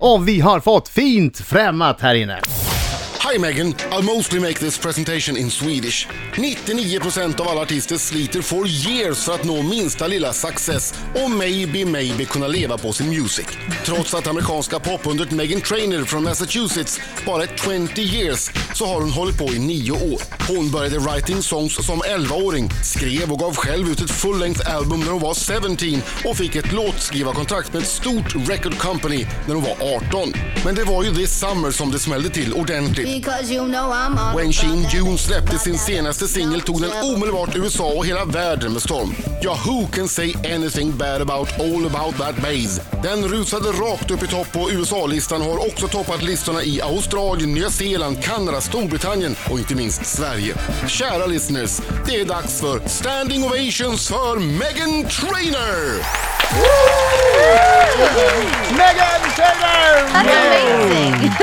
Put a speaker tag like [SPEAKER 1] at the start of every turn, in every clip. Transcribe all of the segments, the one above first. [SPEAKER 1] Och vi har fått fint främmat här inne.
[SPEAKER 2] Hi Megan, I'll mostly make this presentation in Swedish. 99% av alla artister sliter for years för att nå minsta lilla success och maybe, maybe kunna leva på sin music. Trots att amerikanska popundret Megan Trainor från Massachusetts bara är 20 years så har hon hållit på i nio år. Hon började writing songs som 11-åring, skrev och gav själv ut ett full-length album när hon var 17 och fick ett låtskrivarkontrakt med ett stort record company när hon var 18. Men det var ju this summer som det smällde till ordentligt.
[SPEAKER 3] Because you know I'm all
[SPEAKER 2] When She in
[SPEAKER 3] about
[SPEAKER 2] June
[SPEAKER 3] that.
[SPEAKER 2] släppte sin senaste singel tog den omedelbart USA och hela världen med storm. Ja, who can say anything bad about all about that bass? Den rusade rakt upp i topp på USA-listan och har också toppat listorna i Australien, Nya Zeeland, Kanada, Storbritannien och inte minst Sverige. Kära listeners, det är dags för Standing Ovations för Megan Trainor!
[SPEAKER 1] Megan Trainor!
[SPEAKER 4] That's amazing.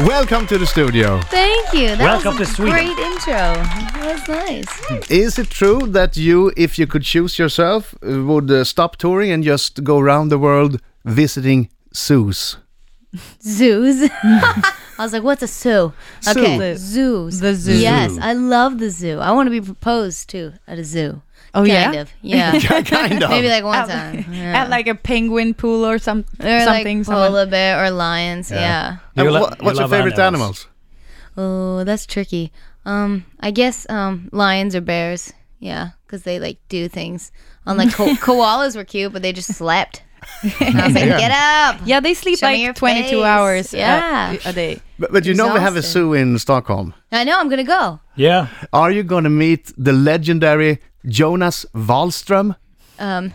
[SPEAKER 1] Welcome to the studio.
[SPEAKER 4] Thank you. That
[SPEAKER 5] Welcome
[SPEAKER 4] was
[SPEAKER 5] to
[SPEAKER 4] a
[SPEAKER 5] Sweden.
[SPEAKER 4] great intro. That was nice.
[SPEAKER 1] Is it true that you, if you could choose yourself, uh, would uh, stop touring and just go around the world visiting zoos?
[SPEAKER 4] Zoos. I was like, what's a zoo? Okay,
[SPEAKER 6] Zoo.
[SPEAKER 4] zoos.
[SPEAKER 6] The zoo.
[SPEAKER 4] Yes, I love the zoo. I want to be proposed to at a zoo.
[SPEAKER 6] Oh,
[SPEAKER 4] kind
[SPEAKER 6] yeah?
[SPEAKER 4] of. Yeah.
[SPEAKER 1] kind of.
[SPEAKER 4] Maybe like one
[SPEAKER 6] At,
[SPEAKER 4] time. Yeah.
[SPEAKER 6] at like a penguin pool or some,
[SPEAKER 4] or
[SPEAKER 6] something.
[SPEAKER 4] like
[SPEAKER 6] someone-
[SPEAKER 4] polar bear or lions. Yeah.
[SPEAKER 1] And
[SPEAKER 5] You lo-
[SPEAKER 1] wha-
[SPEAKER 5] you
[SPEAKER 1] what's your
[SPEAKER 5] love
[SPEAKER 1] favorite
[SPEAKER 5] animals.
[SPEAKER 1] animals?
[SPEAKER 4] Oh, that's tricky. Um, I guess um, lions or bears. Yeah, because they like do things. Unlike ko- koalas were cute, but they just slept. And I was like,
[SPEAKER 1] Yeah.
[SPEAKER 4] get up.
[SPEAKER 6] yeah, they sleep
[SPEAKER 4] Show me your
[SPEAKER 6] like 22
[SPEAKER 4] face.
[SPEAKER 6] hours uh,
[SPEAKER 4] Yeah.
[SPEAKER 6] a day.
[SPEAKER 1] But, but you know we have a
[SPEAKER 4] Exhausted.
[SPEAKER 1] zoo in Stockholm.
[SPEAKER 4] I know I'm gonna go.
[SPEAKER 5] Yeah.
[SPEAKER 1] Are you gonna meet the legendary Jonas Wahlström?
[SPEAKER 4] Um,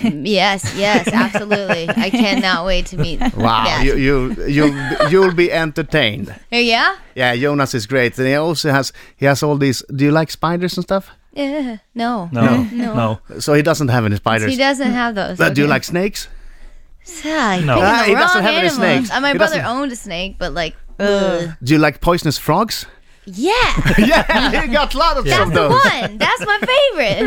[SPEAKER 4] yes, yes, absolutely. I cannot wait to meet.
[SPEAKER 1] Wow,
[SPEAKER 4] that.
[SPEAKER 1] you you you'll, be- you'll be entertained.
[SPEAKER 4] Oh, yeah.
[SPEAKER 1] Yeah, Jonas is great, and he also has he has all these. Do you like spiders and stuff?
[SPEAKER 4] Yeah. No.
[SPEAKER 5] No.
[SPEAKER 4] No.
[SPEAKER 5] No.
[SPEAKER 1] So he doesn't have any spiders.
[SPEAKER 4] He doesn't have those.
[SPEAKER 1] But Uh, do you
[SPEAKER 4] okay.
[SPEAKER 1] like snakes?
[SPEAKER 4] Ah, you're
[SPEAKER 5] No.
[SPEAKER 4] picking
[SPEAKER 1] Ah,
[SPEAKER 4] the
[SPEAKER 1] he doesn't
[SPEAKER 4] wrong
[SPEAKER 1] have any
[SPEAKER 4] animals.
[SPEAKER 1] snakes.
[SPEAKER 4] Uh, my
[SPEAKER 1] He
[SPEAKER 4] brother
[SPEAKER 1] doesn't-
[SPEAKER 4] owned a snake, but like, ugh.
[SPEAKER 1] Do you like poisonous frogs?
[SPEAKER 4] yeah,
[SPEAKER 1] yeah, you got lots
[SPEAKER 4] that's
[SPEAKER 1] of
[SPEAKER 4] the
[SPEAKER 1] those.
[SPEAKER 4] one. That's my favorite.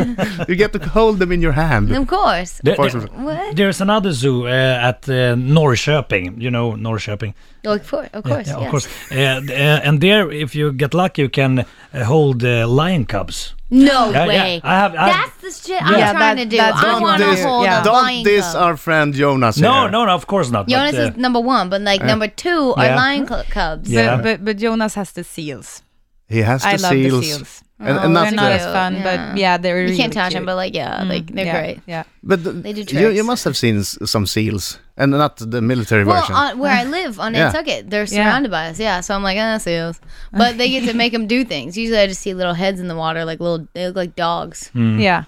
[SPEAKER 1] You get to hold them in your hand.
[SPEAKER 4] of course.
[SPEAKER 5] There-
[SPEAKER 1] Poisonous-
[SPEAKER 5] there-
[SPEAKER 4] What?
[SPEAKER 5] there's another zoo uh, at uh, Norrköping. You know Norrköping.
[SPEAKER 4] Oh, of course, of course,
[SPEAKER 5] Yeah,
[SPEAKER 4] yes.
[SPEAKER 5] of course. Uh, th- uh, and there, if you get lucky, you can uh, hold uh, lion cubs.
[SPEAKER 4] No
[SPEAKER 5] Yeah, yeah.
[SPEAKER 4] way.
[SPEAKER 5] I have- I-
[SPEAKER 4] that's the shit I'm
[SPEAKER 6] Yeah,
[SPEAKER 4] trying
[SPEAKER 6] that-
[SPEAKER 4] to do.
[SPEAKER 6] that's
[SPEAKER 4] I
[SPEAKER 6] what
[SPEAKER 4] want
[SPEAKER 6] you
[SPEAKER 4] to
[SPEAKER 6] do.
[SPEAKER 4] hold
[SPEAKER 6] Yeah.
[SPEAKER 4] a
[SPEAKER 1] Don't
[SPEAKER 4] lion
[SPEAKER 1] diss
[SPEAKER 4] cub.
[SPEAKER 1] our friend Jonas.
[SPEAKER 5] No,
[SPEAKER 1] here.
[SPEAKER 5] no, no, of course not. but,
[SPEAKER 4] Jonas
[SPEAKER 5] uh,
[SPEAKER 4] is number one, but like number two are
[SPEAKER 5] yeah.
[SPEAKER 4] lion cu- cubs.
[SPEAKER 5] Yeah.
[SPEAKER 6] But, but, but Jonas has the seals.
[SPEAKER 1] He has the
[SPEAKER 6] I love
[SPEAKER 1] seals.
[SPEAKER 6] the seals.
[SPEAKER 1] And,
[SPEAKER 4] Oh,
[SPEAKER 1] and
[SPEAKER 4] they're
[SPEAKER 6] They're
[SPEAKER 1] that's
[SPEAKER 6] not
[SPEAKER 1] the-
[SPEAKER 6] as fun,
[SPEAKER 4] Yeah.
[SPEAKER 6] but yeah, they're really
[SPEAKER 4] You can't touch
[SPEAKER 6] cute.
[SPEAKER 4] them, but like yeah, like they're
[SPEAKER 6] yeah,
[SPEAKER 4] great.
[SPEAKER 6] Yeah.
[SPEAKER 1] But th-
[SPEAKER 4] They do
[SPEAKER 1] you, you
[SPEAKER 4] tricks.
[SPEAKER 1] must have seen s- some seals, and not the military
[SPEAKER 4] Well,
[SPEAKER 1] version.
[SPEAKER 4] on, where I live on
[SPEAKER 1] Yeah.
[SPEAKER 4] Nantucket, they're
[SPEAKER 6] Yeah.
[SPEAKER 4] surrounded by us. Yeah, so I'm like, ah, seals. But they get to make them do things. Usually, I just see little heads in the water, like little. They look like dogs.
[SPEAKER 6] Yeah.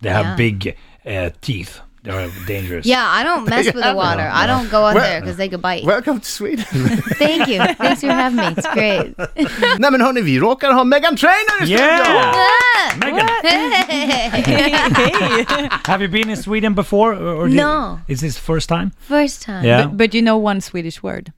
[SPEAKER 5] They have
[SPEAKER 4] Yeah.
[SPEAKER 5] big uh, teeth. They're dangerous.
[SPEAKER 4] Yeah, I don't mess with the water. I don't go out
[SPEAKER 1] Well-
[SPEAKER 4] there because they could bite.
[SPEAKER 1] Welcome to Sweden.
[SPEAKER 4] Thank you. Thanks for having me. It's great.
[SPEAKER 1] Nej men hörni, vi råkar ha Megan Trainor i studion!
[SPEAKER 5] Yeah!
[SPEAKER 4] Ah!
[SPEAKER 5] Megan, have you been in Sweden before? Or, or did-
[SPEAKER 4] No.
[SPEAKER 5] Is this first time?
[SPEAKER 4] First time.
[SPEAKER 5] Yeah.
[SPEAKER 6] But, but you know one Swedish word.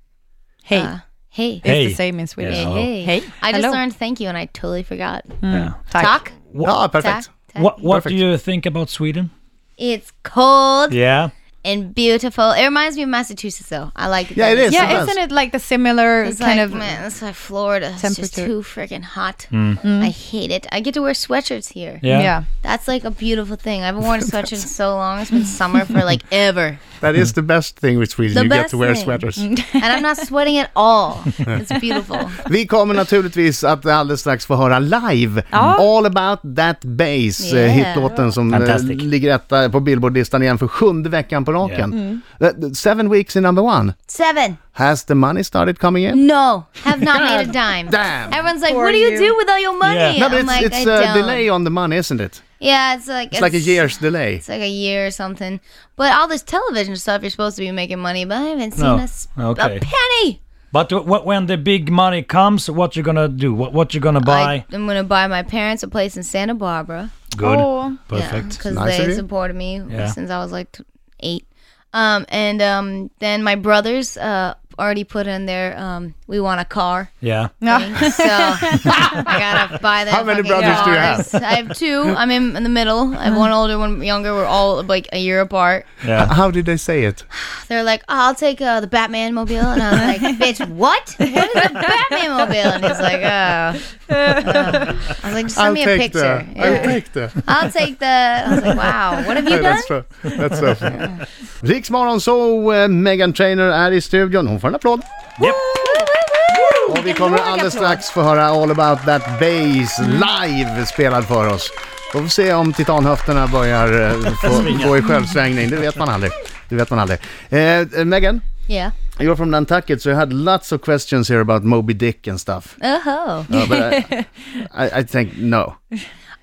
[SPEAKER 6] Hey.
[SPEAKER 4] Uh, hey.
[SPEAKER 5] Hey.
[SPEAKER 6] It's the same in Swedish.
[SPEAKER 5] Yeah.
[SPEAKER 4] Hey.
[SPEAKER 6] Hey.
[SPEAKER 4] I just
[SPEAKER 6] Hello. Hmm.
[SPEAKER 4] learned thank you and I totally forgot.
[SPEAKER 5] Yeah.
[SPEAKER 6] Tack.
[SPEAKER 4] Talk.
[SPEAKER 1] Ja, perfekt.
[SPEAKER 4] Tack.
[SPEAKER 5] What What
[SPEAKER 1] Perfect.
[SPEAKER 5] do you think about Sweden?
[SPEAKER 4] It's cold
[SPEAKER 5] Yeah.
[SPEAKER 4] and beautiful. It reminds me of Massachusetts though. I like it.
[SPEAKER 1] Yeah,
[SPEAKER 4] there.
[SPEAKER 1] it is.
[SPEAKER 6] Yeah,
[SPEAKER 1] it
[SPEAKER 6] isn't it like the similar
[SPEAKER 4] It's
[SPEAKER 6] kind
[SPEAKER 4] like,
[SPEAKER 6] of
[SPEAKER 4] man, that's why Florida is just
[SPEAKER 6] Temperature. Hmm.
[SPEAKER 4] too freaking hot.
[SPEAKER 1] Hmm.
[SPEAKER 4] I hate it. I get to wear sweatshirts here.
[SPEAKER 5] Yeah.
[SPEAKER 6] yeah.
[SPEAKER 4] That's like a beautiful thing. I haven't worn a sweatshirt in so long. It's been summer for like ever.
[SPEAKER 1] That is the best thing with Sweden,
[SPEAKER 4] The
[SPEAKER 1] you get
[SPEAKER 4] best
[SPEAKER 1] to wear
[SPEAKER 4] thing.
[SPEAKER 1] sweaters.
[SPEAKER 4] And I'm not sweating at all. It's beautiful.
[SPEAKER 1] Vi kommer naturligtvis att alldeles strax få höra live All about that bass,
[SPEAKER 4] Yeah.
[SPEAKER 1] yeah. hitlåten som eh,
[SPEAKER 5] Fantastic.
[SPEAKER 1] ligger etta på Billboardlistan igen för sjunde veckan på raken.
[SPEAKER 4] Mm.
[SPEAKER 1] Eh, seven weeks in number one.
[SPEAKER 4] Seven.
[SPEAKER 1] Has the money started coming in?
[SPEAKER 4] No, have not made a dime.
[SPEAKER 1] damn.
[SPEAKER 4] Everyone's like,
[SPEAKER 6] Poor
[SPEAKER 4] what do you,
[SPEAKER 6] you.
[SPEAKER 4] do with all your money?
[SPEAKER 5] Yeah.
[SPEAKER 1] No, but
[SPEAKER 4] I'm
[SPEAKER 1] it's,
[SPEAKER 4] like,
[SPEAKER 1] it's
[SPEAKER 4] I
[SPEAKER 1] a
[SPEAKER 4] don't.
[SPEAKER 1] delay on the money, isn't it?
[SPEAKER 4] Yeah, it's like
[SPEAKER 1] It's, like a year's delay.
[SPEAKER 4] It's like a year or something. But all this television stuff, you're supposed to be making money, but I haven't seen
[SPEAKER 5] No.
[SPEAKER 4] a, s-
[SPEAKER 5] Okay.
[SPEAKER 4] a penny.
[SPEAKER 5] But wh- wh- when the big money comes, what you gonna do? What What you gonna buy?
[SPEAKER 4] I, am gonna buy my parents a place in Santa Barbara.
[SPEAKER 5] Good.
[SPEAKER 6] Oh.
[SPEAKER 5] Perfect.
[SPEAKER 4] because
[SPEAKER 1] Nice of
[SPEAKER 4] they
[SPEAKER 1] you.
[SPEAKER 4] supported me
[SPEAKER 5] Yeah.
[SPEAKER 4] since I was like t- eight. Um, and um, then my brother's uh, already put in there. Um, we want a car.
[SPEAKER 5] Yeah.
[SPEAKER 6] Yeah.
[SPEAKER 4] thing, so I gotta buy that.
[SPEAKER 1] How many
[SPEAKER 4] fucking
[SPEAKER 1] brothers do you
[SPEAKER 4] cars. I have two. I'm in, in the middle. I have one older, one younger. We're all like a year apart.
[SPEAKER 5] Yeah.
[SPEAKER 1] How did they say it?
[SPEAKER 4] They're like, oh, "I'll take uh, the Batman mobile," and I was like, "Bitch, what? What is the Batman mobile?" And he's like, "Oh." Uh, I was like, "Just send
[SPEAKER 1] I'll
[SPEAKER 4] me a
[SPEAKER 1] take
[SPEAKER 4] picture."
[SPEAKER 1] the. I'll
[SPEAKER 4] Yeah.
[SPEAKER 1] take the.
[SPEAKER 4] I'll take the. I was like, "Wow, what have
[SPEAKER 1] Nej,
[SPEAKER 4] you done?"
[SPEAKER 1] that's för, that's för. Riksmorgon så eh, Megan Trainer är i studion. Hon får en applåd.
[SPEAKER 5] Japp.
[SPEAKER 1] Och vi kommer alldeles strax få höra All about that bass live spelad för oss. Då får vi se om titanhöfterna börjar eh, få, gå i självsvängning. Det vet man aldrig. Det vet man aldrig. Eh, eh, Megan,
[SPEAKER 4] Yeah.
[SPEAKER 1] you're from Nantucket so I had lots of questions here about Moby Dick and stuff.
[SPEAKER 4] Oh.
[SPEAKER 1] Uh, but I, I, I think no.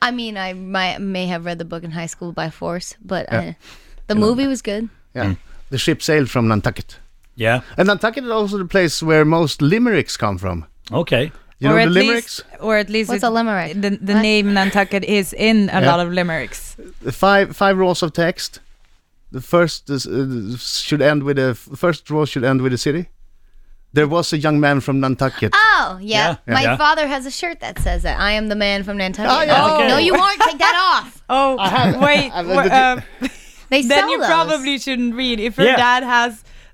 [SPEAKER 4] I mean, I might, may have read the book in high school by force, but uh the movie was good.
[SPEAKER 1] Yeah. The ship sailed from Nantucket.
[SPEAKER 5] Yeah.
[SPEAKER 1] And Nantucket is also the place where most limericks come from.
[SPEAKER 5] Okay.
[SPEAKER 1] You
[SPEAKER 6] or
[SPEAKER 1] know
[SPEAKER 6] at
[SPEAKER 1] the limericks?
[SPEAKER 6] Least, or at least
[SPEAKER 4] What's
[SPEAKER 6] it-
[SPEAKER 4] a limerick?
[SPEAKER 6] The, the
[SPEAKER 4] What?
[SPEAKER 6] name Nantucket is in a
[SPEAKER 1] Yeah.
[SPEAKER 6] lot of limericks.
[SPEAKER 1] five five rows of text. The first is, uh, should end with a f- first row should end with a city. There was a young man from Nantucket.
[SPEAKER 6] Ah!
[SPEAKER 4] Oh, yeah.
[SPEAKER 5] Yeah.
[SPEAKER 4] My
[SPEAKER 5] Yeah.
[SPEAKER 4] father has a shirt that says that. I am the man from Nantucket.
[SPEAKER 1] Oh,
[SPEAKER 4] And I was
[SPEAKER 5] yeah.
[SPEAKER 4] like, no,
[SPEAKER 5] Okay.
[SPEAKER 4] you aren't. Take that off.
[SPEAKER 6] Oh, wait.
[SPEAKER 1] I've-
[SPEAKER 6] wha-
[SPEAKER 1] did you-
[SPEAKER 6] um,
[SPEAKER 4] They
[SPEAKER 6] then
[SPEAKER 4] sell
[SPEAKER 6] you
[SPEAKER 4] those.
[SPEAKER 6] probably shouldn't read. If your
[SPEAKER 5] Yeah.
[SPEAKER 6] dad has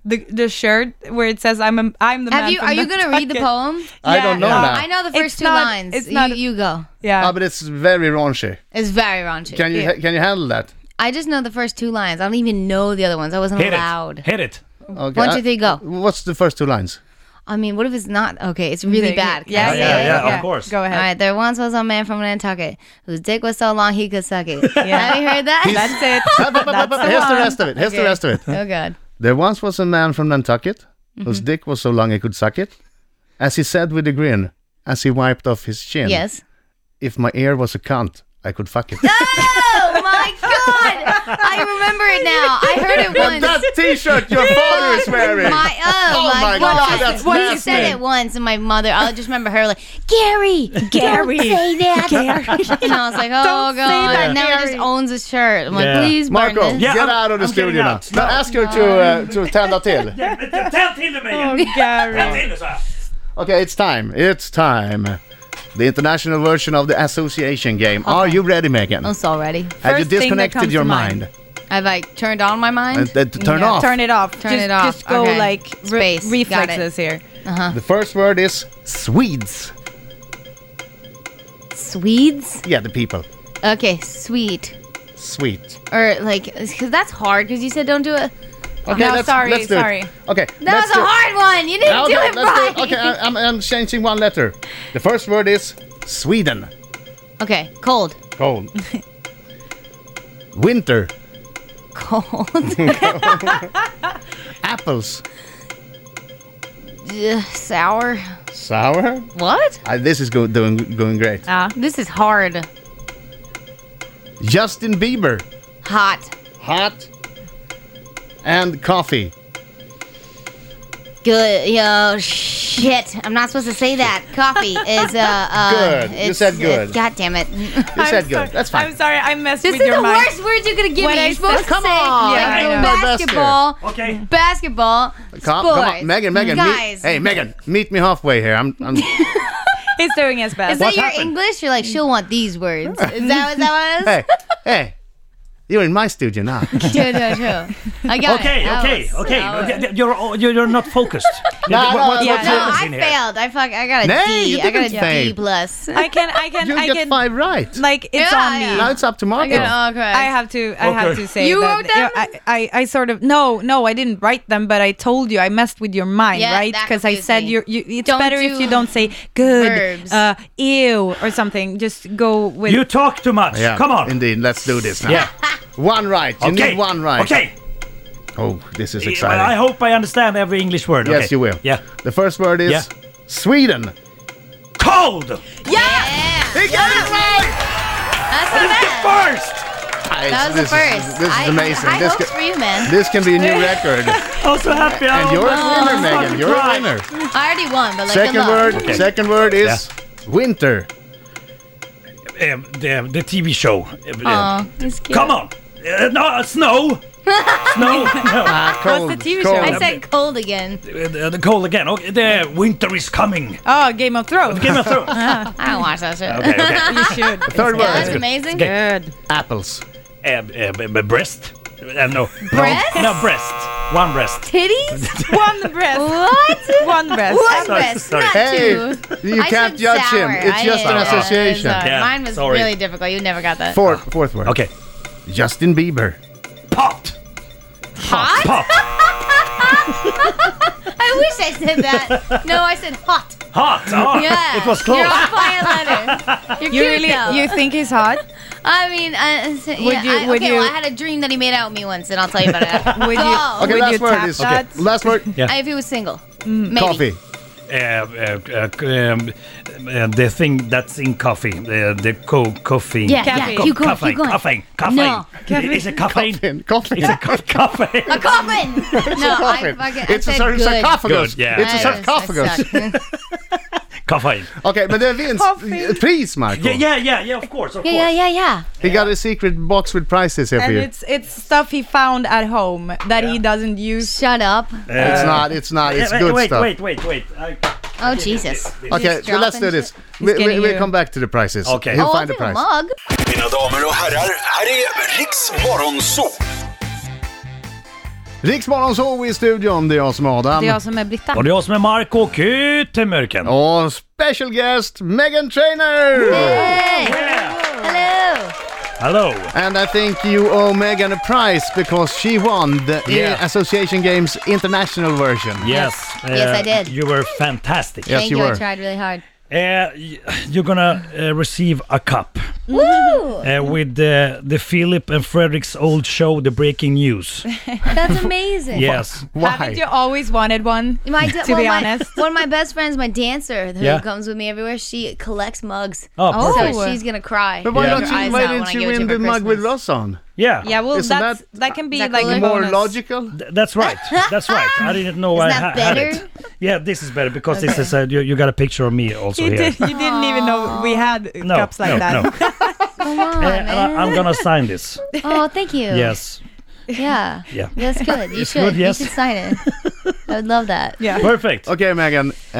[SPEAKER 6] the the shirt where it says "I'm a, I'm the
[SPEAKER 4] Have
[SPEAKER 6] man."
[SPEAKER 4] you? Are you going to read the
[SPEAKER 6] poem?
[SPEAKER 4] poem?
[SPEAKER 1] I don't know
[SPEAKER 6] yeah.
[SPEAKER 1] now.
[SPEAKER 4] I know the first
[SPEAKER 6] It's
[SPEAKER 4] two
[SPEAKER 6] not-
[SPEAKER 4] lines.
[SPEAKER 6] it's not-
[SPEAKER 4] you, you go.
[SPEAKER 1] Ah,
[SPEAKER 6] Yeah.
[SPEAKER 1] but it's very raunchy.
[SPEAKER 4] It's very raunchy.
[SPEAKER 1] Can you
[SPEAKER 6] Yeah.
[SPEAKER 1] can you handle that?
[SPEAKER 4] I just know the first two lines. I don't even know the other ones. I wasn't
[SPEAKER 5] Hit
[SPEAKER 4] allowed.
[SPEAKER 5] it. Hit it.
[SPEAKER 1] Okay.
[SPEAKER 4] One,
[SPEAKER 1] I-
[SPEAKER 4] two, three, go.
[SPEAKER 1] What's the first two lines?
[SPEAKER 4] I mean, what if it's not? Okay, it's really bad. Can I
[SPEAKER 6] Yeah,
[SPEAKER 4] say
[SPEAKER 5] yeah,
[SPEAKER 4] it?
[SPEAKER 5] yeah, of course.
[SPEAKER 6] Go
[SPEAKER 4] All
[SPEAKER 6] ahead.
[SPEAKER 4] right, there once was a man from Nantucket whose dick was so long he could suck it. Have you heard that?
[SPEAKER 6] That's it.
[SPEAKER 1] Up, up, up, up, Here's the rest of it. Here's the
[SPEAKER 4] Okay.
[SPEAKER 1] rest of it.
[SPEAKER 4] oh god.
[SPEAKER 1] There once was a man from Nantucket
[SPEAKER 6] Mm-hmm.
[SPEAKER 1] whose dick was so long he could suck it, as he said with a grin, as he wiped off his chin.
[SPEAKER 4] Yes.
[SPEAKER 1] If my ear was a cunt, I could fuck it.
[SPEAKER 4] Oh my god! I remember it now. I heard it once.
[SPEAKER 1] that T-shirt your father is wearing.
[SPEAKER 4] My oh,
[SPEAKER 1] Oh
[SPEAKER 4] my,
[SPEAKER 1] my God, that's
[SPEAKER 4] When
[SPEAKER 1] nasty.
[SPEAKER 4] he said it once, and my mother, I just remember her like, Gary, Gary, don't say that. And I was like, oh
[SPEAKER 6] Don't say
[SPEAKER 4] god.
[SPEAKER 6] that,
[SPEAKER 4] And now he just
[SPEAKER 6] Gary.
[SPEAKER 4] owns his shirt. I'm like,
[SPEAKER 5] Yeah.
[SPEAKER 4] please, burn
[SPEAKER 1] Marco,
[SPEAKER 4] this.
[SPEAKER 5] Yeah,
[SPEAKER 1] get
[SPEAKER 5] I'm-
[SPEAKER 1] out of the
[SPEAKER 5] I'm getting
[SPEAKER 1] studio now.
[SPEAKER 5] out.
[SPEAKER 1] Now ask her to, uh, to tända till.
[SPEAKER 5] Tänd till det Megan.
[SPEAKER 6] Oh, Gary.
[SPEAKER 5] Tänd till så här.
[SPEAKER 1] Okay, it's time. It's time. The international version of the association game. Are you ready, Megan?
[SPEAKER 4] I'm so ready.
[SPEAKER 1] Have you
[SPEAKER 6] First thing that
[SPEAKER 1] disconnected
[SPEAKER 6] comes
[SPEAKER 1] your
[SPEAKER 6] to mind.
[SPEAKER 1] mind?
[SPEAKER 4] I've like turned on my mind.
[SPEAKER 1] And, uh, to turn
[SPEAKER 4] Yeah.
[SPEAKER 1] off.
[SPEAKER 6] Turn it off.
[SPEAKER 4] Turn
[SPEAKER 6] just,
[SPEAKER 4] it off.
[SPEAKER 6] Just go
[SPEAKER 4] Okay.
[SPEAKER 6] like re-
[SPEAKER 4] Space. Got it.
[SPEAKER 6] reflexes here.
[SPEAKER 1] The first word is Swedes.
[SPEAKER 4] Swedes.
[SPEAKER 1] Yeah, the people.
[SPEAKER 4] Okay, sweet.
[SPEAKER 1] Sweet.
[SPEAKER 4] Or like, because that's hard. Because you said don't do it.
[SPEAKER 1] Okay,
[SPEAKER 6] no, sorry,
[SPEAKER 1] let's do it.
[SPEAKER 6] sorry.
[SPEAKER 1] Okay,
[SPEAKER 4] That
[SPEAKER 1] let's
[SPEAKER 4] was
[SPEAKER 1] do
[SPEAKER 4] a
[SPEAKER 1] it.
[SPEAKER 4] hard one. You didn't do
[SPEAKER 1] Okay,
[SPEAKER 4] it
[SPEAKER 1] let's
[SPEAKER 4] right.
[SPEAKER 1] do it. Okay, uh, I, I'm, I'm changing one letter. The first word is Sweden.
[SPEAKER 4] Okay, cold,
[SPEAKER 1] Cold. Winter.
[SPEAKER 4] cold.
[SPEAKER 1] Apples.
[SPEAKER 4] Ugh, Sour.
[SPEAKER 1] Sour.
[SPEAKER 4] What?
[SPEAKER 1] Uh, this is go- doing going great.
[SPEAKER 6] Ah,
[SPEAKER 4] This is hard.
[SPEAKER 1] Justin Bieber,
[SPEAKER 4] Hot.
[SPEAKER 1] hot, and coffee.
[SPEAKER 4] Good. Yo, shit. I'm not supposed to say that. Coffee is uh. uh
[SPEAKER 1] Good. You
[SPEAKER 4] it's-
[SPEAKER 1] said good.
[SPEAKER 4] it's- God damn it.
[SPEAKER 1] You
[SPEAKER 6] I'm
[SPEAKER 1] said good.
[SPEAKER 6] sorry.
[SPEAKER 1] That's fine.
[SPEAKER 6] I'm sorry. I messed
[SPEAKER 4] This
[SPEAKER 6] with
[SPEAKER 4] is
[SPEAKER 6] your
[SPEAKER 4] the
[SPEAKER 6] mind.
[SPEAKER 4] worst word you're gonna give
[SPEAKER 6] When
[SPEAKER 4] me.
[SPEAKER 6] I
[SPEAKER 4] You're supposed
[SPEAKER 6] said-
[SPEAKER 4] to
[SPEAKER 1] Come
[SPEAKER 4] say
[SPEAKER 1] on,
[SPEAKER 4] like,
[SPEAKER 6] I know.
[SPEAKER 4] basketball.
[SPEAKER 5] Okej.
[SPEAKER 4] Basketball.
[SPEAKER 1] Come,
[SPEAKER 4] sports.
[SPEAKER 1] come on, Megan, Megan. meet-
[SPEAKER 4] Guys.
[SPEAKER 1] hey, Megan, meet me halfway here. I'm, I'm
[SPEAKER 6] He's doing his best.
[SPEAKER 4] Is that your
[SPEAKER 1] happened?
[SPEAKER 4] English? You're like, she'll want these words. Is that, is that what it
[SPEAKER 1] hey, hey. You're in my studio now.
[SPEAKER 4] is? True, true, true. I got it.
[SPEAKER 5] Okej,
[SPEAKER 4] That
[SPEAKER 5] okej,
[SPEAKER 4] was-
[SPEAKER 5] okej.
[SPEAKER 4] that was-
[SPEAKER 5] You're- You're you're not focused.
[SPEAKER 1] no, yeah,
[SPEAKER 5] What's your
[SPEAKER 4] No,
[SPEAKER 5] focus
[SPEAKER 4] I
[SPEAKER 5] in here?
[SPEAKER 4] failed. I fuck. I got a D.
[SPEAKER 1] Nay,
[SPEAKER 4] I
[SPEAKER 1] you
[SPEAKER 4] got a
[SPEAKER 1] didn't fail.
[SPEAKER 4] D plus.
[SPEAKER 6] I can. I can.
[SPEAKER 1] You
[SPEAKER 6] I
[SPEAKER 1] get
[SPEAKER 6] can.
[SPEAKER 1] five right.
[SPEAKER 6] Like it's
[SPEAKER 4] Yeah,
[SPEAKER 6] on me.
[SPEAKER 4] yeah.
[SPEAKER 1] Now it's up to Marco.
[SPEAKER 4] all correct.
[SPEAKER 6] I uh, have to. I have
[SPEAKER 5] Okay.
[SPEAKER 6] to say
[SPEAKER 4] You
[SPEAKER 6] that,
[SPEAKER 4] wrote them?
[SPEAKER 6] I, I, I sort of no, no. I didn't write them, but I told you I messed with your mind,
[SPEAKER 4] Yeah,
[SPEAKER 6] right?
[SPEAKER 4] that
[SPEAKER 6] Because I
[SPEAKER 4] confused
[SPEAKER 6] said
[SPEAKER 4] me.
[SPEAKER 6] you're, you. It's
[SPEAKER 4] Don't
[SPEAKER 6] better
[SPEAKER 4] do
[SPEAKER 6] if you don't say good,
[SPEAKER 4] verbs.
[SPEAKER 6] uh, ew, or something. Just go with.
[SPEAKER 5] You talk too much.
[SPEAKER 1] Yeah,
[SPEAKER 5] Come on.
[SPEAKER 1] Indeed, let's do this now.
[SPEAKER 5] Yeah.
[SPEAKER 1] One right. You
[SPEAKER 5] Okay.
[SPEAKER 1] need one right.
[SPEAKER 5] Okay.
[SPEAKER 1] Oh, this is exciting.
[SPEAKER 5] I hope I understand every English word.
[SPEAKER 1] yes,
[SPEAKER 5] okay.
[SPEAKER 1] you will.
[SPEAKER 5] Yeah.
[SPEAKER 1] The first word is
[SPEAKER 5] Yeah.
[SPEAKER 1] Sweden.
[SPEAKER 5] Cold.
[SPEAKER 4] Yeah.
[SPEAKER 1] He got it right!
[SPEAKER 4] That's not bad.
[SPEAKER 5] First.
[SPEAKER 4] That was the
[SPEAKER 1] this
[SPEAKER 4] first.
[SPEAKER 1] Is, this
[SPEAKER 4] I-
[SPEAKER 1] is amazing.
[SPEAKER 4] High
[SPEAKER 1] this,
[SPEAKER 4] hopes
[SPEAKER 1] ca-
[SPEAKER 4] for you, man.
[SPEAKER 1] this can be a new record.
[SPEAKER 5] I'm so happy.
[SPEAKER 1] and
[SPEAKER 5] Oh,
[SPEAKER 1] you're
[SPEAKER 5] my-
[SPEAKER 1] a winner,
[SPEAKER 5] I'm
[SPEAKER 1] Megan.
[SPEAKER 5] fucking
[SPEAKER 1] You're a
[SPEAKER 5] crying.
[SPEAKER 1] winner.
[SPEAKER 4] I already won, but like
[SPEAKER 1] Second
[SPEAKER 4] good
[SPEAKER 1] word.
[SPEAKER 4] luck.
[SPEAKER 1] Second word is winter.
[SPEAKER 5] Eh, Um, the, the TV show. Eh, eh,
[SPEAKER 4] Aw, he's cute.
[SPEAKER 5] Come on. Eh, no, Uh, snow. Snow? No.
[SPEAKER 1] Ah, cold.
[SPEAKER 6] What's the TV
[SPEAKER 1] cold.
[SPEAKER 6] show?
[SPEAKER 4] I said cold again.
[SPEAKER 5] Uh, The cold again. Okay, the winter is coming.
[SPEAKER 6] Oh, Game of Thrones.
[SPEAKER 5] Game of Thrones.
[SPEAKER 4] I don't watch that shit.
[SPEAKER 5] Okay, okay.
[SPEAKER 6] you should.
[SPEAKER 1] Third
[SPEAKER 4] Yeah, that's
[SPEAKER 1] word.
[SPEAKER 4] amazing.
[SPEAKER 5] Okay.
[SPEAKER 6] Good.
[SPEAKER 1] Apples.
[SPEAKER 5] Uh, uh, b- b- breast? Uh, no.
[SPEAKER 4] Breast?
[SPEAKER 5] No, breast. One breast.
[SPEAKER 4] Titties?
[SPEAKER 6] One breast.
[SPEAKER 4] What?
[SPEAKER 6] One breast.
[SPEAKER 4] One
[SPEAKER 5] Sorry,
[SPEAKER 4] breast,
[SPEAKER 5] sorry.
[SPEAKER 4] not
[SPEAKER 1] Hey,
[SPEAKER 4] two.
[SPEAKER 1] you
[SPEAKER 4] I
[SPEAKER 1] can't
[SPEAKER 4] said
[SPEAKER 1] judge him.
[SPEAKER 4] sour.
[SPEAKER 1] It's
[SPEAKER 4] I
[SPEAKER 1] just an
[SPEAKER 4] didn't.
[SPEAKER 1] association.
[SPEAKER 4] Sorry.
[SPEAKER 5] Yeah,
[SPEAKER 4] Mine was
[SPEAKER 5] sorry.
[SPEAKER 4] really difficult. You never got that.
[SPEAKER 1] Fourth, fourth word.
[SPEAKER 5] Okay.
[SPEAKER 1] Justin Bieber.
[SPEAKER 5] Pot.
[SPEAKER 4] Hot?
[SPEAKER 5] Pot.
[SPEAKER 4] I wish I said that. No, I said hot.
[SPEAKER 5] Hot. Oh,
[SPEAKER 4] Yeah.
[SPEAKER 5] It was close.
[SPEAKER 4] You're on fire letter. You're
[SPEAKER 6] You
[SPEAKER 4] cute
[SPEAKER 6] really?
[SPEAKER 4] though.
[SPEAKER 6] You think he's hot?
[SPEAKER 4] I mean, I, would yeah,
[SPEAKER 6] you-
[SPEAKER 4] I,
[SPEAKER 6] would
[SPEAKER 4] okay,
[SPEAKER 6] you-
[SPEAKER 4] well, I had a dream that he made out with me once, and I'll tell you about it. after.
[SPEAKER 6] Would you?
[SPEAKER 4] Oh.
[SPEAKER 1] Okay,
[SPEAKER 6] would
[SPEAKER 1] last
[SPEAKER 6] you
[SPEAKER 1] word
[SPEAKER 6] tap
[SPEAKER 1] is.
[SPEAKER 6] that?
[SPEAKER 1] Okay. Last word.
[SPEAKER 5] Yeah.
[SPEAKER 4] If he was single,
[SPEAKER 6] Mm.
[SPEAKER 4] maybe.
[SPEAKER 1] Coffee.
[SPEAKER 5] Uh, uh, uh, c- um, uh, the thing that's in coffee, uh, the co- caffeine.
[SPEAKER 4] Yeah,
[SPEAKER 6] Caffeine.
[SPEAKER 4] yeah. Keep going.
[SPEAKER 5] caffeine,
[SPEAKER 4] keep going.
[SPEAKER 5] caffeine, caffeine.
[SPEAKER 4] No.
[SPEAKER 5] Is it caffeine?
[SPEAKER 1] Coffin. Coffin.
[SPEAKER 5] Is it ca- caffeine?
[SPEAKER 4] A coffin. no, I
[SPEAKER 1] Coffin.
[SPEAKER 4] fucking.
[SPEAKER 1] It's
[SPEAKER 4] I
[SPEAKER 1] a
[SPEAKER 4] said
[SPEAKER 1] sar-
[SPEAKER 4] good.
[SPEAKER 1] sarcophagus.
[SPEAKER 5] Good, yeah.
[SPEAKER 1] It's a
[SPEAKER 4] I- I
[SPEAKER 1] sarcophagus.
[SPEAKER 4] suck.
[SPEAKER 5] caffeine.
[SPEAKER 1] Okej, men det finns
[SPEAKER 6] Coffee.
[SPEAKER 1] pris, Marco.
[SPEAKER 5] Yeah, yeah, yeah, yeah. Of course, of
[SPEAKER 4] yeah,
[SPEAKER 5] course.
[SPEAKER 4] yeah, yeah, yeah.
[SPEAKER 1] uh, He got a secret box with prizes here for
[SPEAKER 6] And
[SPEAKER 1] you.
[SPEAKER 6] it's it's stuff he found at home that he doesn't use.
[SPEAKER 4] Shut up.
[SPEAKER 1] It's not, it's not, it's
[SPEAKER 5] wait,
[SPEAKER 1] good
[SPEAKER 5] Eh, wait,
[SPEAKER 1] stuff.
[SPEAKER 5] Wait, wait, wait. I,
[SPEAKER 4] Oh Jesus.
[SPEAKER 1] Okay,
[SPEAKER 4] Just
[SPEAKER 1] well, let's do
[SPEAKER 4] dropping
[SPEAKER 1] this.
[SPEAKER 4] shit.
[SPEAKER 1] We, we,
[SPEAKER 6] getting
[SPEAKER 1] we'll
[SPEAKER 6] you.
[SPEAKER 1] come back to the prizes.
[SPEAKER 5] Okay.
[SPEAKER 1] He'll
[SPEAKER 4] Oh, I'll
[SPEAKER 1] find the
[SPEAKER 4] do a
[SPEAKER 1] prize.
[SPEAKER 4] mug.
[SPEAKER 3] Mina damer och herrar, här är Riks Morgonzoo!
[SPEAKER 1] Riksmorgon så i studion, det är jag som är Adam.
[SPEAKER 6] Det är jag som är Britta.
[SPEAKER 5] Och det är jag som är Marco Kytemörken.
[SPEAKER 1] Och special guest, Megan Trainer!
[SPEAKER 4] Hey. Hello.
[SPEAKER 5] Hello.
[SPEAKER 1] And I think you owe Megan a prize because she won the
[SPEAKER 5] Yeah.
[SPEAKER 1] I- Association Games International version.
[SPEAKER 5] Yes.
[SPEAKER 4] Yes, I did.
[SPEAKER 5] Eh, You were fantastic.
[SPEAKER 1] Yes,
[SPEAKER 4] Thank
[SPEAKER 1] you
[SPEAKER 4] you.
[SPEAKER 1] were.
[SPEAKER 4] I tried really hard.
[SPEAKER 5] Uh, y- you're gonna uh, receive a cup
[SPEAKER 6] Mm-hmm.
[SPEAKER 4] Woo!
[SPEAKER 5] uh, with uh, the Philip and Fredrik's old show, The Breaking News.
[SPEAKER 4] That's amazing.
[SPEAKER 5] yes.
[SPEAKER 1] Why?
[SPEAKER 6] Haven't you always wanted one?
[SPEAKER 4] My, to
[SPEAKER 6] be honest.
[SPEAKER 4] my, one of my best friends, my dancer, who
[SPEAKER 5] Yeah.
[SPEAKER 4] comes with me everywhere, she collects mugs.
[SPEAKER 5] Oh,
[SPEAKER 6] Oh.
[SPEAKER 5] perfect.
[SPEAKER 4] So she's gonna cry.
[SPEAKER 1] But why
[SPEAKER 5] Yeah.
[SPEAKER 1] don't
[SPEAKER 4] Her eyes
[SPEAKER 1] you, why
[SPEAKER 4] out when I
[SPEAKER 1] didn't you
[SPEAKER 4] give it to
[SPEAKER 1] win
[SPEAKER 4] her
[SPEAKER 1] the mug with
[SPEAKER 4] Christmas.
[SPEAKER 1] us on?
[SPEAKER 5] Yeah.
[SPEAKER 6] Yeah, well,
[SPEAKER 1] Isn't
[SPEAKER 6] that's
[SPEAKER 1] that-
[SPEAKER 6] that, can be
[SPEAKER 4] that
[SPEAKER 6] like a
[SPEAKER 4] cooler?
[SPEAKER 1] More
[SPEAKER 6] bonus.
[SPEAKER 1] logical?
[SPEAKER 5] Th- That's right. That's right. I didn't know I
[SPEAKER 4] Isn't
[SPEAKER 5] ha-
[SPEAKER 4] that
[SPEAKER 5] had
[SPEAKER 4] better?
[SPEAKER 5] it. Yeah, this is better because this is a, you, you got a picture of me also
[SPEAKER 6] You,
[SPEAKER 5] here.
[SPEAKER 6] did, you didn't even know we had
[SPEAKER 5] Oh, No,
[SPEAKER 6] cups like
[SPEAKER 5] no,
[SPEAKER 6] that.
[SPEAKER 5] no.
[SPEAKER 4] Come on,
[SPEAKER 5] Uh, and I, I'm gonna sign this.
[SPEAKER 4] Oh, thank you.
[SPEAKER 5] Yes.
[SPEAKER 4] Yeah.
[SPEAKER 5] Yeah.
[SPEAKER 4] That's good. You
[SPEAKER 5] It's
[SPEAKER 4] should.
[SPEAKER 5] good, yes.
[SPEAKER 4] You should sign it. I would love that.
[SPEAKER 6] Yeah.
[SPEAKER 5] Perfect.
[SPEAKER 1] Okay, Megan, uh,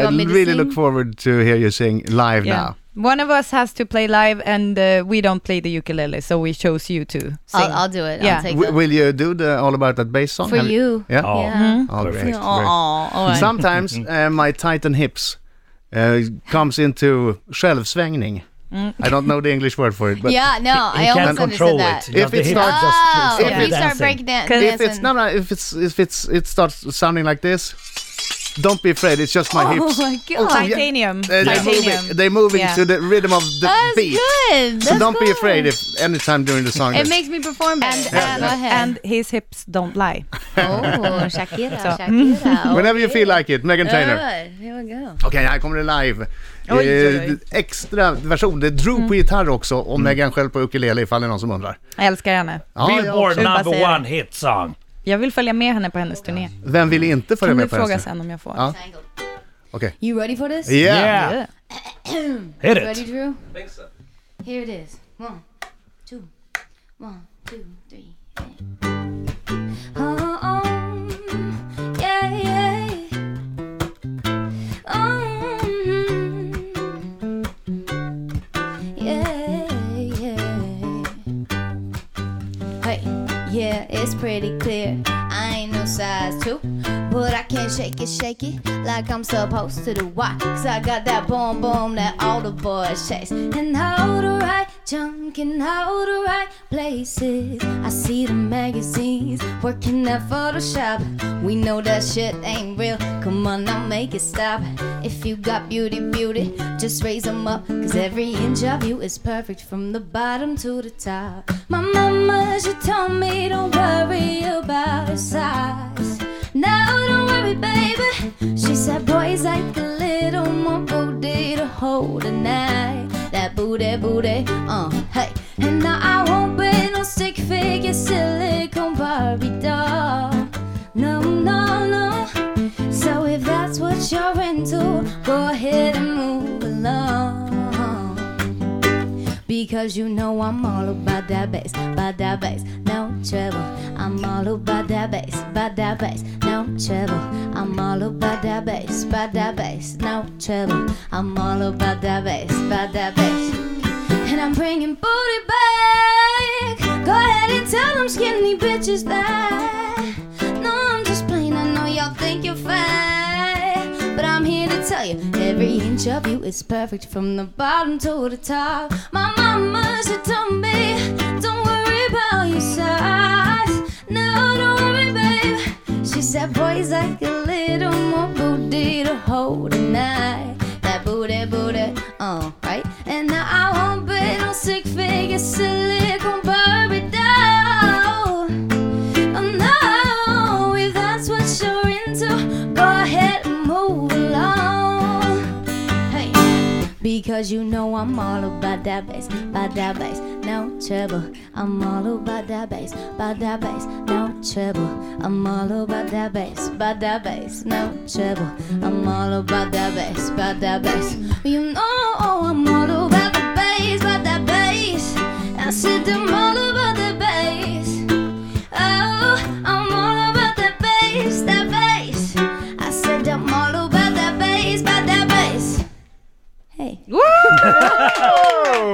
[SPEAKER 1] I
[SPEAKER 4] want me to
[SPEAKER 1] really
[SPEAKER 4] sing?
[SPEAKER 1] look forward to hear you sing live
[SPEAKER 6] Yeah.
[SPEAKER 1] now.
[SPEAKER 6] One of us has to play live, and uh, we don't play the ukulele, so we chose you to sing.
[SPEAKER 4] I'll, I'll do it.
[SPEAKER 6] Yeah.
[SPEAKER 4] I'll take
[SPEAKER 1] W-
[SPEAKER 4] it.
[SPEAKER 1] will you do the All About That bass song?
[SPEAKER 4] For
[SPEAKER 1] Have
[SPEAKER 4] you.
[SPEAKER 1] Yeah?
[SPEAKER 5] Oh.
[SPEAKER 4] Yeah.
[SPEAKER 1] Oh,
[SPEAKER 5] Perfect.
[SPEAKER 1] great.
[SPEAKER 4] Oh,
[SPEAKER 1] great.
[SPEAKER 4] oh, all right.
[SPEAKER 1] Sometimes uh, my tight and hips uh, comes into självsvängning. I don't know the English word for it, but
[SPEAKER 4] Mm. yeah, no, I
[SPEAKER 5] you
[SPEAKER 4] almost
[SPEAKER 5] can't
[SPEAKER 4] understood
[SPEAKER 5] control
[SPEAKER 4] that.
[SPEAKER 5] it. You
[SPEAKER 1] If
[SPEAKER 5] have to
[SPEAKER 1] it's
[SPEAKER 5] hit-
[SPEAKER 1] not-
[SPEAKER 4] Oh,
[SPEAKER 5] stop
[SPEAKER 1] if
[SPEAKER 4] if
[SPEAKER 5] the
[SPEAKER 4] you start
[SPEAKER 5] dancing.
[SPEAKER 4] breaking dan- dancing.
[SPEAKER 1] if it's no, no, if it's if it's it starts sounding like this, don't be afraid. It's just my
[SPEAKER 4] Oh
[SPEAKER 1] hips.
[SPEAKER 4] my god.
[SPEAKER 1] yeah.
[SPEAKER 6] Titanium.
[SPEAKER 1] Uh, they're moving,
[SPEAKER 6] Titanium.
[SPEAKER 1] they're moving
[SPEAKER 6] Yeah.
[SPEAKER 1] to the rhythm of the
[SPEAKER 4] That's
[SPEAKER 1] beat.
[SPEAKER 4] good.
[SPEAKER 1] So
[SPEAKER 4] That's
[SPEAKER 1] don't be
[SPEAKER 4] good.
[SPEAKER 1] afraid if anytime during the song.
[SPEAKER 4] It
[SPEAKER 1] that-
[SPEAKER 4] makes me perform better.
[SPEAKER 6] And,
[SPEAKER 4] Yeah,
[SPEAKER 6] and,
[SPEAKER 4] Go
[SPEAKER 6] and
[SPEAKER 4] ahead.
[SPEAKER 6] his hips don't lie.
[SPEAKER 4] oh, Shakira, Shakira.
[SPEAKER 1] Whenever you feel like it, Megan Trainor.
[SPEAKER 4] Good. Here we go.
[SPEAKER 1] Okej, här kommer det live.
[SPEAKER 6] Oj,
[SPEAKER 1] Eh,
[SPEAKER 6] oj, oj.
[SPEAKER 1] Extra version. Det drog på gitarr också och Megan själv på ukulele ifall det är någon som undrar.
[SPEAKER 6] Jag älskar henne.
[SPEAKER 1] Ja,
[SPEAKER 5] Billboard
[SPEAKER 1] ja.
[SPEAKER 6] bara
[SPEAKER 5] number
[SPEAKER 6] säga det.
[SPEAKER 5] one hit song.
[SPEAKER 6] Jag vill följa med henne på hennes turné.
[SPEAKER 1] Vem vill inte följa
[SPEAKER 6] Kan du
[SPEAKER 1] med på
[SPEAKER 6] fråga
[SPEAKER 1] hennes?
[SPEAKER 6] sen om jag får?
[SPEAKER 1] Ja. Okej.
[SPEAKER 4] You ready for this?
[SPEAKER 1] Yeah.
[SPEAKER 5] Yeah. Hit it.
[SPEAKER 4] Ready, Drew? Think so. Here it is. One, two, one, two, three. and- Oh, oh, yeah, yeah. Oh, mm, yeah, yeah. Hey, yeah, it's pretty clear. I ain't no size two, but I can shake it, shake it like I'm supposed to do. Why? Cause I got that boom boom that all the boys chase. And how the right junk in how the right places. I see the magazines working at Photoshop. We know that shit ain't real. Come on, now make it stop. If you got beauty, beauty, just raise them up. Cause every inch of you is perfect from the bottom to the top. My mama, she told me don't worry about your size. Now don't worry, baby. She said, boys like a little more booty to hold tonight. That booty, booty, uh, hey. And now I won't be no stick figure, silicone Barbie doll. No, no, no. So if that's what you're into, go ahead and move along. Because you know I'm all about that bass, about that bass. No, trouble. I'm all about that bass, about that bass, no trouble. I'm all about that bass, about that bass, no trouble. I'm all about that bass, about that bass. And I'm bringing booty back. Go ahead and tell them skinny bitches that. No, I'm just plain. I know y'all think you're fat. But I'm here to tell you every inch of you is perfect from the bottom to the top. My mama, she told me, don't worry about your size. No, don't worry, babe. She said, boys like a little more booty to hold tonight. That booty, booty, uh, right? And now I won't be no six figure silicone Barbie doll. Oh no, if that's what you're into, go ahead and move along. Hey. Because you know I'm all about that bass, about that bass, no trouble. I'm all about that bass, about that bass, no trouble. I'm all about that bass, about that bass, no trouble. I'm all about that bass, about that bass. You know I'm all about the bass, about that bass. I said I'm all about the bass. Oh, I'm all about that bass, that bass. I said I'm all about that bass, about that bass. Hey.
[SPEAKER 5] Wonderful!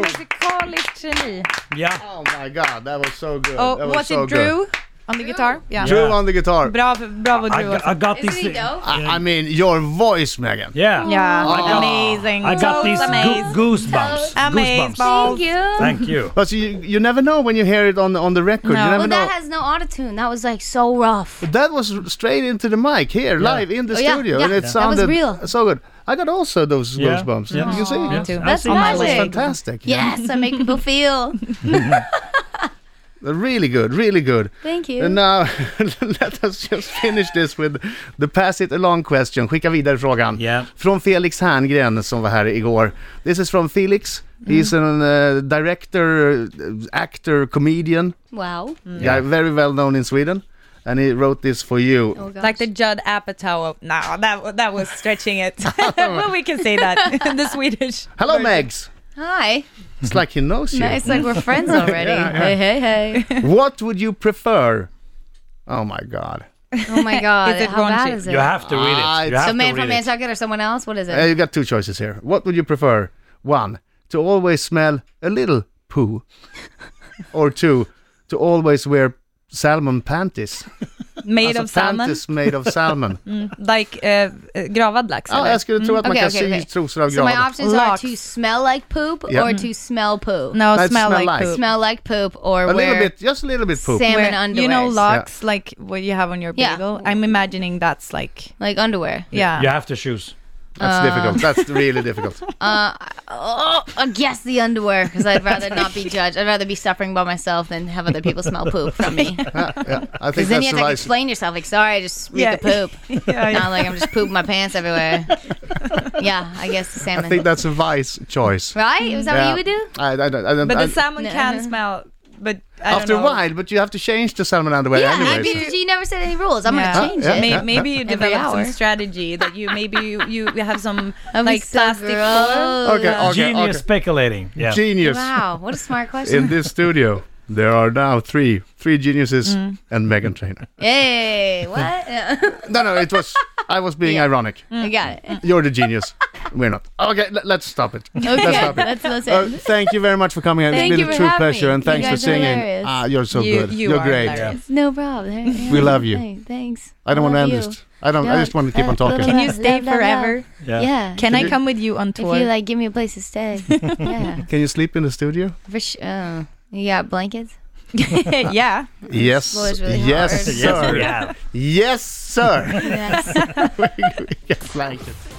[SPEAKER 6] Vilket musikaliskt geni.
[SPEAKER 5] Ja.
[SPEAKER 1] Oh my god, that was so good.
[SPEAKER 6] Oh,
[SPEAKER 1] that
[SPEAKER 6] was,
[SPEAKER 1] so
[SPEAKER 6] it Drew on the guitar? Yeah.
[SPEAKER 1] Good. Drew on the guitar.
[SPEAKER 6] Bravo, bravo
[SPEAKER 5] I,
[SPEAKER 6] Drew.
[SPEAKER 5] got- I got
[SPEAKER 4] Isn't
[SPEAKER 5] this.
[SPEAKER 4] he dope?
[SPEAKER 1] I, I mean, your voice, Megan.
[SPEAKER 5] Yeah.
[SPEAKER 6] yeah, amazing.
[SPEAKER 5] I got
[SPEAKER 6] Totes
[SPEAKER 5] these
[SPEAKER 6] amazing.
[SPEAKER 5] goo- goosebumps.
[SPEAKER 6] Amazing.
[SPEAKER 5] Goosebumps.
[SPEAKER 4] Thank you.
[SPEAKER 5] Thank you.
[SPEAKER 1] But you, you never know when you hear it on on the record.
[SPEAKER 6] No.
[SPEAKER 1] You never
[SPEAKER 4] Well,
[SPEAKER 1] know.
[SPEAKER 4] that has no autotune. That was like so rough.
[SPEAKER 1] That was straight into the mic here, live in the
[SPEAKER 4] yeah,
[SPEAKER 1] studio,
[SPEAKER 4] yeah.
[SPEAKER 1] and it
[SPEAKER 4] Yeah. That was
[SPEAKER 1] sounded
[SPEAKER 4] real.
[SPEAKER 1] so good. I got also those
[SPEAKER 5] Yeah,
[SPEAKER 1] goosebumps.
[SPEAKER 5] yeah.
[SPEAKER 1] Did you see?
[SPEAKER 5] Yeah.
[SPEAKER 6] too.
[SPEAKER 5] I
[SPEAKER 4] That's
[SPEAKER 5] see.
[SPEAKER 1] That was
[SPEAKER 4] magic.
[SPEAKER 1] fantastic.
[SPEAKER 4] Yes, I make people feel.
[SPEAKER 1] Really good, really good.
[SPEAKER 4] Thank you.
[SPEAKER 1] And now, let us just finish this with the pass it along question. Skicka vidare frågan.
[SPEAKER 5] Yeah.
[SPEAKER 1] Från Felix Herngren som var här igår. This is from Felix. He's an uh, director, uh, actor, comedian.
[SPEAKER 4] Wow.
[SPEAKER 1] Guy, very well known in Sweden. And he wrote this for you.
[SPEAKER 4] Oh, gosh.
[SPEAKER 6] Like the Judd Apatow. of- Nah, that that was stretching it. well, we can say that the Swedish.
[SPEAKER 1] Hello, Megs!
[SPEAKER 4] Hi.
[SPEAKER 1] It's like he knows you.
[SPEAKER 4] Nice, like we're friends already. Hey, hey, hey.
[SPEAKER 1] What would you prefer? Oh my god.
[SPEAKER 4] Oh my God.
[SPEAKER 6] Is it
[SPEAKER 4] How bad
[SPEAKER 6] raunchy?
[SPEAKER 4] is it?
[SPEAKER 5] You have to read
[SPEAKER 1] Ah,
[SPEAKER 5] it. You
[SPEAKER 1] it's-
[SPEAKER 5] have
[SPEAKER 4] so
[SPEAKER 5] to
[SPEAKER 4] man from
[SPEAKER 5] read it.
[SPEAKER 4] Nantucket or someone else? What is
[SPEAKER 1] Uh,
[SPEAKER 4] it?
[SPEAKER 1] you got two choices here. What would you prefer? One, to always smell a little poo. or two, to always wear salmon panties.
[SPEAKER 6] Made
[SPEAKER 1] Alltså
[SPEAKER 6] of salmon.
[SPEAKER 1] Panties made of salmon.
[SPEAKER 4] Mm.
[SPEAKER 6] Like eh, eh, gravad lax
[SPEAKER 1] Ja,
[SPEAKER 6] eller?
[SPEAKER 1] jag skulle tro att man
[SPEAKER 4] Okej,
[SPEAKER 1] kan
[SPEAKER 4] okej,
[SPEAKER 1] sy
[SPEAKER 4] okej.
[SPEAKER 1] trosor av
[SPEAKER 4] So my
[SPEAKER 1] graven.
[SPEAKER 4] options
[SPEAKER 6] Locks.
[SPEAKER 4] are to smell like poop
[SPEAKER 1] Yeah.
[SPEAKER 4] or to smell poo.
[SPEAKER 6] No,
[SPEAKER 1] That
[SPEAKER 6] smell,
[SPEAKER 1] smell
[SPEAKER 6] like,
[SPEAKER 1] like-
[SPEAKER 6] poop.
[SPEAKER 4] Smell like poop or
[SPEAKER 1] A little
[SPEAKER 4] wear
[SPEAKER 1] bit, just a little bit poop.
[SPEAKER 4] salmon
[SPEAKER 6] Where-
[SPEAKER 4] underwear.
[SPEAKER 6] you know
[SPEAKER 1] Yeah.
[SPEAKER 6] locks, like what you have on your
[SPEAKER 4] Yeah.
[SPEAKER 6] bagel. I'm imagining that's like,
[SPEAKER 4] like underwear.
[SPEAKER 6] yeah.
[SPEAKER 5] You have to choose.
[SPEAKER 4] Uh,
[SPEAKER 1] That's difficult. That's really difficult.
[SPEAKER 4] Oh, I guess the underwear because I'd rather not be judged. I'd rather be suffering by myself than have other people smell poop from me.
[SPEAKER 1] Yeah, I think
[SPEAKER 4] Because then
[SPEAKER 1] that's
[SPEAKER 4] you have
[SPEAKER 1] the
[SPEAKER 4] to like,
[SPEAKER 1] right.
[SPEAKER 4] explain yourself. Like, sorry, I just read
[SPEAKER 6] Yeah.
[SPEAKER 4] the poop.
[SPEAKER 6] Yeah, yeah.
[SPEAKER 4] Not like I'm just pooping my pants everywhere. yeah, I guess the salmon.
[SPEAKER 1] I think that's a wise choice.
[SPEAKER 4] right? Is that
[SPEAKER 1] Yeah.
[SPEAKER 4] what you would do?
[SPEAKER 1] I, I, don't- I, don't-
[SPEAKER 6] But
[SPEAKER 1] I,
[SPEAKER 6] the salmon can
[SPEAKER 4] No.
[SPEAKER 6] smell. But I
[SPEAKER 1] after a
[SPEAKER 6] don't know.
[SPEAKER 1] while, but you have to change the salmon underwear
[SPEAKER 4] Yeah,
[SPEAKER 1] anyway.
[SPEAKER 4] I mean, you never said any rules. I'm
[SPEAKER 6] Yeah.
[SPEAKER 4] gonna change
[SPEAKER 1] Yeah,
[SPEAKER 4] it.
[SPEAKER 6] May-
[SPEAKER 1] yeah.
[SPEAKER 6] maybe you
[SPEAKER 4] Every
[SPEAKER 6] develop some
[SPEAKER 4] hour.
[SPEAKER 6] strategy that you maybe you, you have some
[SPEAKER 4] That'd be
[SPEAKER 6] like
[SPEAKER 4] so
[SPEAKER 6] plastic cover.
[SPEAKER 4] gross.
[SPEAKER 1] Okay, okay,
[SPEAKER 5] Genius
[SPEAKER 1] okay.
[SPEAKER 5] speculating. Yeah.
[SPEAKER 1] Genius.
[SPEAKER 4] Wow, what a smart question.
[SPEAKER 1] in this studio there are now three three geniuses
[SPEAKER 4] Mm.
[SPEAKER 1] and Megan Trainer.
[SPEAKER 4] hey, what?
[SPEAKER 1] No, no, it was I was being ironic.
[SPEAKER 4] I got it.
[SPEAKER 1] You're the genius. We're not. Okay, l- let's stop it.
[SPEAKER 4] Okay,
[SPEAKER 1] stop it.
[SPEAKER 4] that's that's it.
[SPEAKER 1] Uh, thank you very much for coming.
[SPEAKER 4] Thank
[SPEAKER 1] it's been
[SPEAKER 4] you
[SPEAKER 1] a
[SPEAKER 4] for
[SPEAKER 1] true
[SPEAKER 4] having
[SPEAKER 1] pleasure,
[SPEAKER 4] me.
[SPEAKER 1] and
[SPEAKER 4] You
[SPEAKER 1] thanks for
[SPEAKER 4] guys are
[SPEAKER 1] singing.
[SPEAKER 4] hilarious.
[SPEAKER 1] Ah, you're so
[SPEAKER 6] You-
[SPEAKER 1] good.
[SPEAKER 6] you
[SPEAKER 1] are
[SPEAKER 6] are
[SPEAKER 1] great.
[SPEAKER 6] hilarious.
[SPEAKER 4] It's no problem.
[SPEAKER 1] We love you.
[SPEAKER 4] Hey, thanks.
[SPEAKER 1] I don't want to
[SPEAKER 4] Love
[SPEAKER 1] end
[SPEAKER 4] you.
[SPEAKER 1] this. I don't. I
[SPEAKER 4] Love-
[SPEAKER 1] just want to keep on
[SPEAKER 4] love- love-
[SPEAKER 1] talking.
[SPEAKER 6] Can you
[SPEAKER 4] Love,
[SPEAKER 6] stay
[SPEAKER 4] love, love.
[SPEAKER 6] forever?
[SPEAKER 5] Yeah.
[SPEAKER 4] Yeah.
[SPEAKER 6] Can I come with you on
[SPEAKER 4] If
[SPEAKER 6] tour?
[SPEAKER 4] you like, give me a place to stay. yeah.
[SPEAKER 1] Can you sleep in the studio?
[SPEAKER 4] For sure. you got blankets?
[SPEAKER 6] yeah.
[SPEAKER 1] Yes.
[SPEAKER 4] floor is really
[SPEAKER 1] yes,
[SPEAKER 4] hard.
[SPEAKER 5] Yes,
[SPEAKER 1] sir.
[SPEAKER 5] we have.
[SPEAKER 1] Yes, sir.
[SPEAKER 4] Yes.
[SPEAKER 1] yes, like it.